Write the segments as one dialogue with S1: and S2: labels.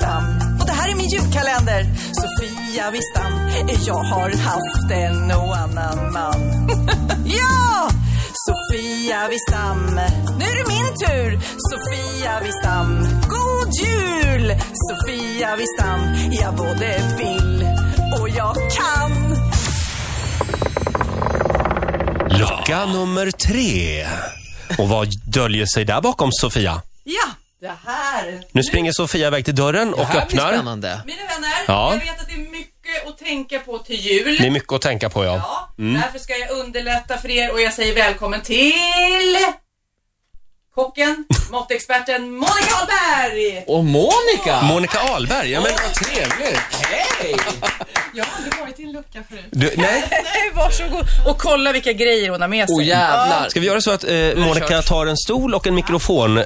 S1: namn. Och det här är min julkalender. Sofia Wistam. Eh, Jag har haft en och annan man. ja! Sofia Wistam. Nu är det min tur. Sofia Wistam. God jul! Sofia Wistam. Jag både vill och jag kan.
S2: Lucka nummer tre. Och vad döljer sig där bakom Sofia?
S1: Ja, det här.
S2: Nu springer Sofia iväg till dörren och
S3: här blir
S2: öppnar.
S3: spännande.
S4: Mina vänner,
S2: Ja.
S4: jag vet att det är mycket att tänka på till jul.
S2: Det är mycket att tänka på ja.
S4: Ja,
S3: Mm.
S4: Därför ska jag underlätta för er och jag säger välkommen till kocken, måttexperten Monica Ahlberg!
S3: Och Monica!
S2: Monica Ahlberg, ja men
S3: vad trevligt! Hej!
S4: Jag har aldrig varit i en lucka förut.
S2: du, nej.
S4: Nej, varsågod och kolla vilka grejer hon har med sig.
S3: Åh jävlar!
S2: Ska vi göra så att eh, Monica tar en stol och en mikrofon eh,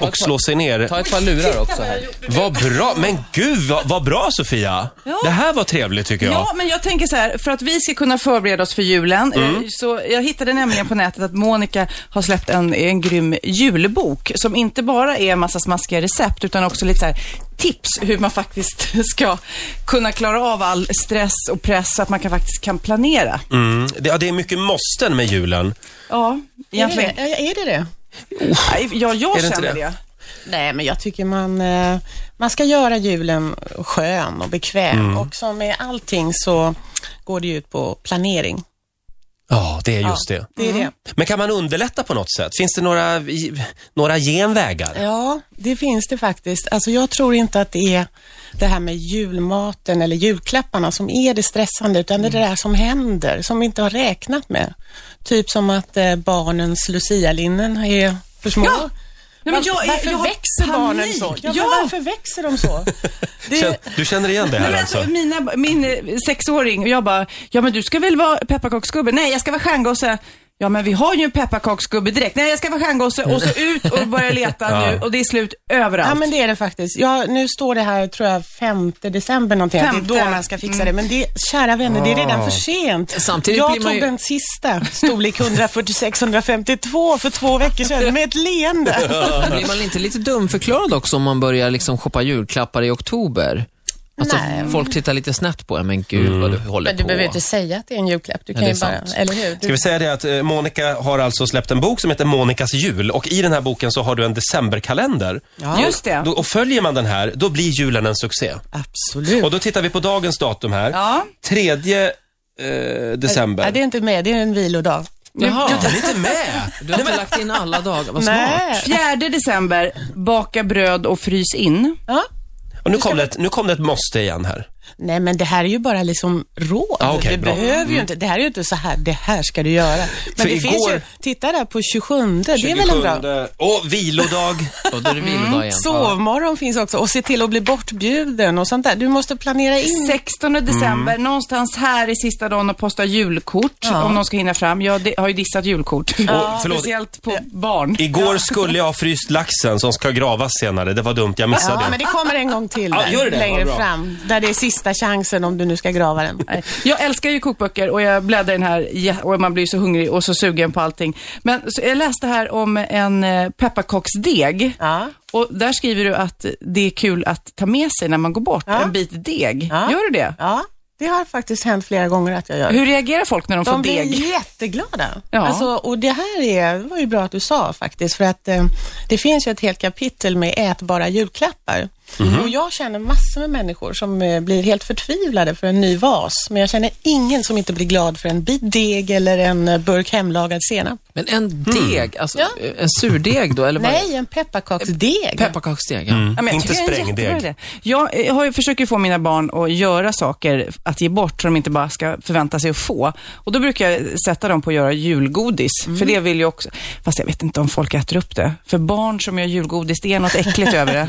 S2: och slår sig ner?
S3: Ta ett par lurar också här.
S2: Vad bra, men gud vad, vad bra Sofia! Det här var trevligt tycker jag.
S4: Ja, men jag tänker så här, för att vi ska kunna förbereda oss för julen, eh,
S2: Mm.
S4: så jag hittade nämligen på nätet att Monica har släppt en, en grym julbok som inte bara är en massa smaskiga recept, utan också lite så här tips hur man faktiskt ska kunna klara av all stress och press så att man kan, faktiskt kan planera.
S2: Mm. Det, ja, det är mycket måsten med julen.
S4: Ja,
S5: Är det
S4: egentligen.
S5: det? Ja, Är det det?
S4: Nej, Ja, jag
S2: Är det inte
S4: känner
S2: det?
S4: det.
S5: Nej, men jag tycker man, eh, man ska göra julen skön och bekväm.
S4: Mm.
S5: Och som med allting så går det ju ut på planering.
S2: Ja, det är just det.
S5: Det är
S4: Mm.
S5: det.
S2: Men kan man underlätta på något sätt? Finns det några, i- några genvägar?
S5: Ja, det finns det faktiskt. Alltså jag tror inte att det är det här med julmaten eller julklapparna som är det stressande, utan det är
S4: Mm.
S5: det där som händer, som vi inte har räknat med. Typ som att eh, barnens lucialinnen är för små.
S4: Ja, Nej, men jag, är-
S5: varför
S4: jag har
S5: växer barnen
S4: panik.
S5: så? Ja,
S4: Ja,
S5: men varför växer de så? Det-
S2: Kän- Du känner igen det
S4: Nej,
S2: här
S4: men alltså,
S2: alltså?
S4: mina, min eh, sexåring och jag bara, ja men du ska väl vara pepparkaksgubbe? Nej, jag ska vara stjärngosse. Ja men vi har ju en pepparkaksgubbe direkt. Nej, jag ska vara stjärngosse och så ut och börja leta nu och det är slut överallt.
S5: Ja, men det är det faktiskt. Ja, nu står det här, tror jag, 5 december någonting. att Det är
S4: Femte.
S5: då man ska fixa det. Men det, kära vänner, det är redan för sent.
S3: Samtidigt
S5: jag
S3: blir man
S5: tog
S3: ju-
S5: den sista, storlek 146-152, för två veckor sedan med ett leende.
S3: Blir man inte lite dumförklarad också om man börjar liksom shoppa julklappar i oktober? Alltså,
S5: Nej.
S3: folk tittar lite snett på en, men gud
S2: Mm.
S3: vad du håller
S5: Men du
S3: på.
S5: behöver inte säga att det är en julklapp. Du kan
S3: det
S5: ju
S3: är
S5: bara,
S3: sant.
S5: eller hur? Du,
S2: Ska vi säga det att eh, Monica har alltså släppt en bok som heter Monicas jul och i den här boken så har du en decemberkalender.
S4: Just det.
S2: Då, och följer man den här, då blir julen en succé.
S5: Absolut.
S2: Och då tittar vi på dagens datum här.
S4: Ja.
S2: Tredje eh, december.
S5: Nej, det är inte med, det är en vilodag.
S3: Jaha,
S2: Ja, den är inte med!
S3: du har inte lagt in alla dagar, vad smart.
S5: Nej.
S4: 4 december, baka bröd och frys in.
S5: Ja.
S2: Och nu kom, det ett, nu kom det ett måste igen här.
S5: Nej, men det här är ju bara liksom råd.
S2: Ja, okej,
S5: det
S2: bra.
S5: behöver ju inte, det här är ju inte så här, det här ska du göra. Men
S2: För
S5: det finns ju,
S2: igår-
S5: titta där på 27, det är väl en bra...
S2: 27. Och vilodag.
S3: Och då är det
S5: Mm,
S3: vilodag igen. Ja.
S5: Sovmorgon finns också och se till att bli bortbjuden och sånt där. Du måste planera in.
S4: 16 december, någonstans här i sista dagen och posta julkort om någon ska hinna fram. Jag de- har ju dissat julkort.
S2: förlåt.
S4: Speciellt på barn.
S2: Igår skulle jag ha fryst laxen som ska gravas senare. Det var dumt, jag missade
S5: Ja,
S2: det.
S5: men det kommer en gång till där,
S2: Ja, gör det det? Vad
S5: längre
S2: bra.
S5: fram. Där det är sista chansen om du nu ska grava den.
S4: Nej. Jag älskar ju kokböcker och jag bläddrar i den här ja, och man blir så hungrig och så sugen på allting. Men så jag läste här om en eh, pepparkaksdeg.
S5: Ja.
S4: Och där skriver du att det är kul att ta med sig när man går bort
S5: Ja.
S4: en bit deg.
S5: Ja.
S4: Gör du det?
S5: Ja, det har faktiskt hänt flera gånger att jag gör.
S4: Hur reagerar folk när de, får
S5: De blir
S4: deg?
S5: jätteglada.
S4: Ja.
S5: Alltså, och det här är, det var ju bra att du sa faktiskt, för att eh, det finns ju ett helt kapitel med ätbara julklappar. Och jag känner massor med människor som eh, blir helt förtvivlade för en ny vas, men jag känner ingen som inte blir glad för en bit deg eller en eh, burk hemlagad senap.
S3: Men en deg, alltså
S5: Mm. Ja.
S3: en surdeg då, eller vad?
S5: Nej, en pepparkaksdeg.
S3: Pepparkaksdeg, ja.
S4: Ja, men jag
S2: Inte
S4: tycker det är en
S2: sprängdeg.
S4: jättebra idé. Jag eh, har ju, försöker ju få mina barn att göra saker att ge bort som de inte bara ska förvänta sig att få. Och då brukar jag sätta dem på att göra julgodis. För det vill jag också. Fast jag vet inte om folk äter upp det. För barn som gör julgodis, det är något äckligt över det.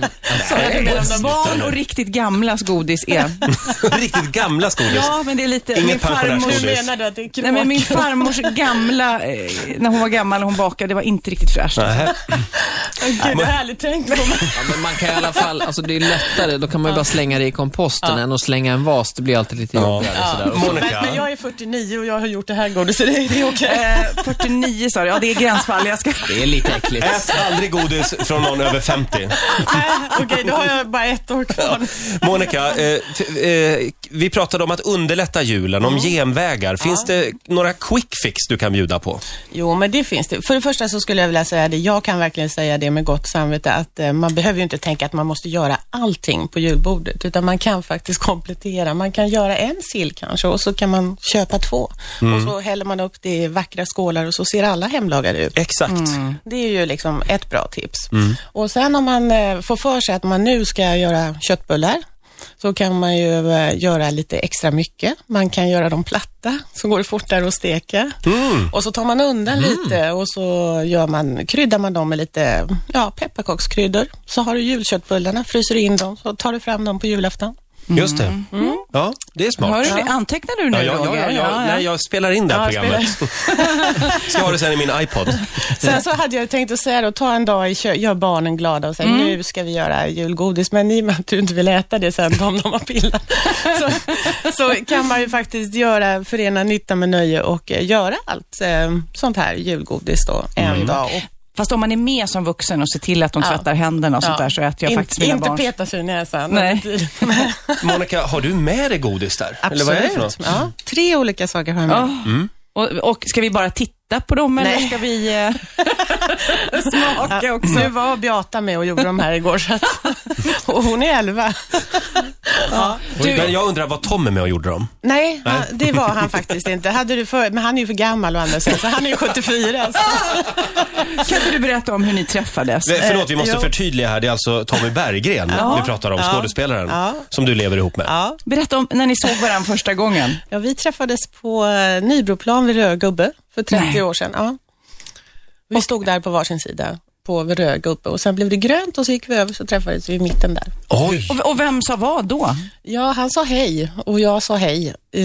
S4: Barn och riktigt gamlas godis är.
S2: Riktigt gamla skolor.
S4: Ja, men det är lite...
S2: Inget
S4: min farmors,
S2: pensionärsgodis.
S5: du att det är
S4: Nej, men min farmors gamla, eh, när hon var gammal och hon bakade, det var inte riktigt fräscht.
S2: Nähä.
S5: Gud, det är härligt tänkt på.
S3: Ja, men man kan i alla fall, alltså det är lättare, då kan man ju bara slänga det i komposten än att slänga en vas. Det blir alltid lite
S2: Ja.
S3: jobbigare sådär. Och så-
S2: Monica.
S5: Men jag är 49 och jag har gjort det här godiset, så det det är okej.
S4: Eh, 49 sa du, ja det är gränsfall. Jag ska...
S2: Äh,
S3: Det är lite äckligt.
S2: Ät aldrig godis från någon över 50.
S5: Nej, Okej, då har jag har bara ett år kvar.
S2: Monica, eh, f- eh, vi pratade om att underlätta julen, om genvägar. Finns det några quick fix du kan bjuda på?
S5: Jo, men det finns det. För det första så skulle jag vilja säga det, jag kan verkligen säga det med gott samvete, att eh, man behöver ju inte tänka att man måste göra allting på julbordet, utan man kan faktiskt komplettera. Man kan göra en sill kanske och så kan man köpa två. Och så häller man upp det i vackra skålar och så ser alla hemlagade ut.
S2: Exakt.
S5: Det är ju liksom ett bra tips. Och sen om man eh, får för sig att man nu ska göra köttbullar, så kan man ju eh, göra lite extra mycket. Man kan göra dem platta, så går det fortare att steka. Och så tar man undan lite och så gör man, kryddar man dem med lite ja, pepparkakskryddor. Så har du julköttbullarna, fryser du in dem, så tar du fram dem på julafton.
S2: Just det. Ja, det är
S4: Hör
S2: smart.
S4: du det? Antecknar du nu,
S2: Ja, ja, ja, ja,
S4: Roger?
S2: ja. Nej, jag spelar in det här
S5: Ja,
S2: programmet. Ska ha det sen i min iPod.
S5: Sen så hade jag tänkt att säga då, ta en dag i kö- gör barnen glada och säg
S4: Mm.
S5: nu ska vi göra julgodis, men i och med att du inte vill äta det sen om de har pillat, så, så kan man ju faktiskt göra, förena nytta med nöje och eh, göra allt eh, sånt här julgodis då en
S4: Mm.
S5: dag. Och,
S4: Fast om man är med som vuxen och ser till att de tvättar händerna och sånt
S5: ja,
S4: där så äter jag
S5: in-
S4: faktiskt mina
S5: Inte
S4: barns.
S5: peta sig i näsan.
S4: Nej.
S2: Monica, har du med dig godis där? Eller vad är det för något?
S5: Absolut. Ja, tre olika saker har jag med.
S4: Ja.
S3: Mm.
S4: Och, och ska vi bara titta på dem eller
S5: Nej.
S4: ska vi eh, smaka också?
S5: Nu var Beata med och gjorde de här igår, så att, och hon är elva.
S2: Men jag undrar vad Tom är med och gjorde dem?
S5: Nej, Han, det var han faktiskt inte. Hade du för, men han är ju för gammal å andra sidan, så han är ju 74. Så.
S4: Kan inte du berätta om hur ni träffades? Eh,
S2: Nej, Förlåt, vi måste
S5: Eh, jo.
S2: förtydliga här. Det är alltså Tommy Berggren vi pratar om, skådespelaren,
S5: Ja.
S2: som du lever ihop med.
S5: Ja.
S4: Berätta om när ni såg varandra första gången.
S5: ja, vi träffades på eh, Nybroplan vid Rödgubbe för 30
S4: Nej.
S5: år sedan. Ja. Vi stod där på varsin sida på vid Rödgubbe och sen blev det grönt och så gick vi över så träffades vi i mitten där.
S2: Oj!
S4: Och, och vem sa vad då?
S5: Ja, han sa hej och jag sa hej. Eh,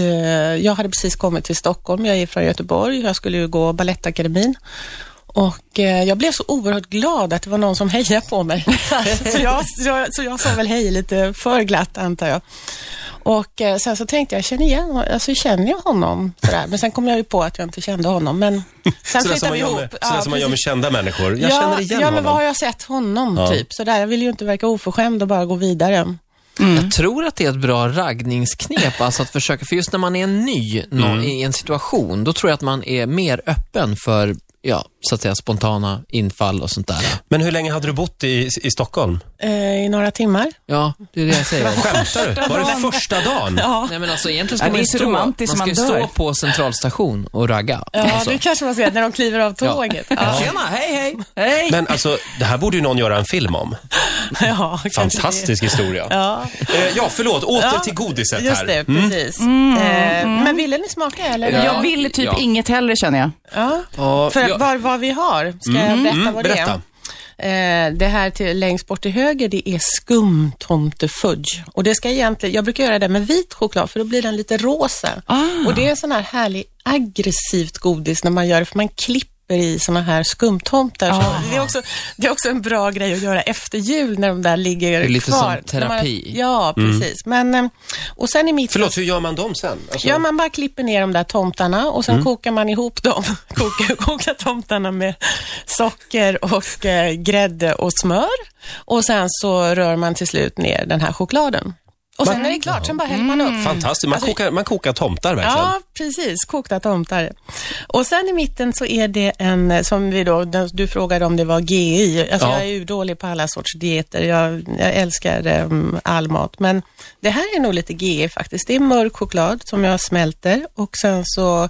S5: Jag hade precis kommit till Stockholm, jag är från Göteborg, jag skulle ju gå Balettakademin. Och eh, jag blev så oerhört glad att det var någon som hejade på mig. så, jag, så, jag, så jag sa väl hej lite för glatt antar jag. Och eh, sen så tänkte jag, känner igen hon- alltså känner jag honom? Sådär. Men sen kom jag ju på att jag inte kände honom. Men sen
S2: Sådär som
S5: flyttade
S2: man
S5: vi
S2: gör
S5: ihop.
S2: med, sådär som man gör med
S5: precis.
S2: kända människor. Jag
S5: ja,
S2: känner igen
S5: Ja, men
S2: honom.
S5: vad har jag sett honom
S2: Ja.
S5: typ? Sådär, jag vill ju inte verka oförskämd och bara gå vidare.
S3: Jag tror att det är ett bra raggningsknep, alltså att försöka, för just när man är ny nå- i en situation, då tror jag att man är mer öppen för, ja, så att säga spontana infall och sånt där.
S2: Men hur länge hade du bott i, i Stockholm?
S5: Eh, I några timmar.
S3: Ja, det är det jag säger.
S2: Skämtar du? Var det första dagen?
S3: Nej men alltså egentligen
S4: Ja,
S3: ska
S4: det
S3: man
S4: är
S3: ju
S4: så
S3: stå, man
S4: romantiskt
S3: ska
S4: man
S3: ju
S4: dör.
S3: stå på centralstation och ragga.
S5: Ja,
S3: alltså.
S5: det kanske man ser när de kliver av
S3: Ja.
S5: tåget.
S3: Ja.
S5: Ja,
S3: Tjena, hej hej!
S4: Hej!
S2: Men alltså, det här borde ju någon göra en film om.
S5: ja, kanske det.
S2: Fantastisk historia.
S5: Ja,
S2: Eh, ja, förlåt. Åter
S5: Ja,
S2: till godiset
S5: just
S2: här. Mm,
S5: det, precis. Eh, Men ville ni smaka eller?
S3: Mm. Ja.
S4: Jag ville typ
S3: Ja.
S4: inget hellre känner jag.
S5: Ja.
S3: Ja,
S5: För
S3: ja. Mm.
S5: att, vad, vad vi har, ska jag berätta vad det
S2: berätta.
S5: är? Eh, det här till, längst bort till höger, det är skumtomtefudge. Och det ska egentligen, jag brukar göra det med vit choklad för då blir den lite rosa.
S3: Ah.
S5: Och det är en sån här härlig aggressivt godis när man gör det, för man klipper i såna här skumtomtar. Så
S3: Ah.
S5: Det, är också, det är också en bra grej att göra efter jul när de där ligger
S3: Det är lite
S5: kvar.
S3: som
S5: När man-
S3: terapi. Mm.
S5: ja, precis. Men, eh, och sen i mitt
S2: Förlåt, hur gör man dem sen? Alltså,
S5: Ja, man bara klipper ner de där tomtarna och sen kokar man ihop dem. Kokar, kokar tomtarna med socker och eh, grädde och smör. Och sen så rör man till slut ner den här chokladen. Och sen är det klart, sen bara häller man upp.
S2: Fantastiskt. Man, kokar, man kokar tomtar verkligen.
S5: Alltså- Ja, precis. Kokta tomtar. Och sen i mitten så är det en, eh, som vi då, den- du frågade om det var GI. Alltså
S3: Ja.
S5: jag är ju dålig på alla sorts dieter. Jag, jag älskar em, all mat. Men det här är nog lite GI faktiskt. Det är mörk choklad som jag smälter och sen så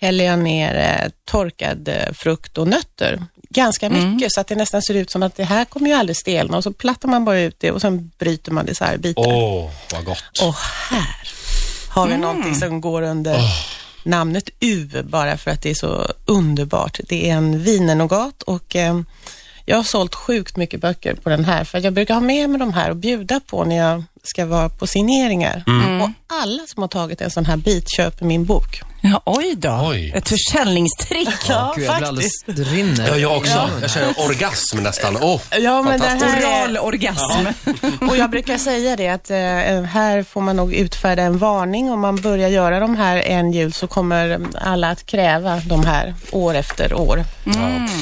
S5: häller jag ner eh, torkad eh, frukt och nötter. Ganska mycket så att det nästan ser ut som att det här kommer ju aldrig stelna och så plattar man bara ut det och sen bryter man det så här i bitar.
S2: Åh, vad gott.
S5: Och här har vi någonting som går under namnet U, bara för att det är så underbart. Det är en vinenogat och eh, jag har sålt sjukt mycket böcker på den här, för jag brukar ha med mig de här och bjuda på när jag ska vara på signeringar. Och alla som har tagit en sån här bit köper min bok.
S4: Ja, oj då.
S2: Oj.
S4: Ett försäljningstrick.
S5: Ja,
S3: Gud, jag blir alldeles, det rinner.
S2: Ja, jag också. Jag känner orgasm nästan. Åh,
S5: Ja, men det
S2: fantastiskt.
S5: här är,
S4: Oral orgasm.
S5: Och jag brukar säga det att eh, här får man nog utfärda en varning. Om man börjar göra de här en jul så kommer alla att kräva de här år efter år.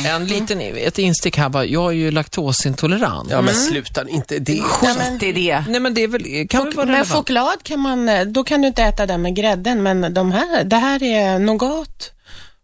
S3: En liten, ett instick här bara, jag är ju laktosintolerant.
S2: Ja, men sluta inte det.
S4: Skit i det.
S3: Nej men det är väl, kan väl vara
S5: Men
S3: relevant?
S5: choklad kan man, eh, då kan du inte äta den med grädden, men de här, det här är nougat,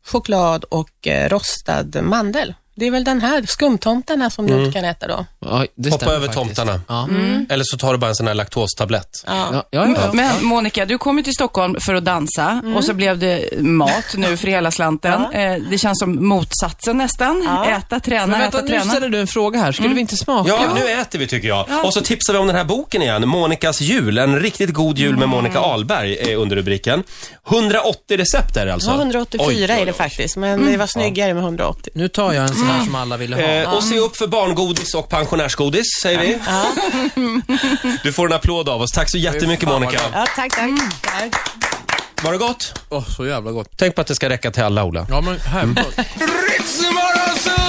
S5: choklad och eh, rostad mandel. Det är väl den här skumtomtarna som
S2: Mm.
S5: du inte kan äta då.
S3: Ja, det
S2: Hoppa
S3: stämmer
S2: över
S3: faktiskt.
S2: tomtarna. Mm.
S3: Ja.
S5: Mm.
S2: Eller så tar du bara en sån här laktostablett.
S3: Ja, ja, ja.
S4: Men Monica, du kom ju till Stockholm för att dansa
S3: Mm.
S4: och så blev det mat nu för hela slanten. Eh, Det känns som motsatsen nästan. Äta, träna,
S3: Men vänta,
S4: äta,
S3: nu
S4: träna.
S3: ställer du en fråga här. Skulle vi inte smaka?
S2: Ja, nu äter vi tycker jag. Och så tipsar vi om den här boken igen, Monikas jul. En riktigt god jul
S5: Mm.
S2: med Monica Ahlberg är under rubriken. 180 recept är det alltså.
S5: Ja, 184
S2: Oj, oj,
S5: är
S2: oj.
S5: det faktiskt, men det var snyggare med 180.
S3: Nu tar jag en sån här som alla ville ha.
S2: Eh, och se upp för barngodis och pensionärsgodis, säger vi. Du får en applåd av oss. Tack så jättemycket Monica.
S5: Ja, tack, tack. Mm. tack.
S2: Var det gott?
S3: Åh, så jävla gott.
S2: Tänk på att det ska räcka till alla, Ola.
S3: Ja, men här.
S2: Ritzmorgonzoo!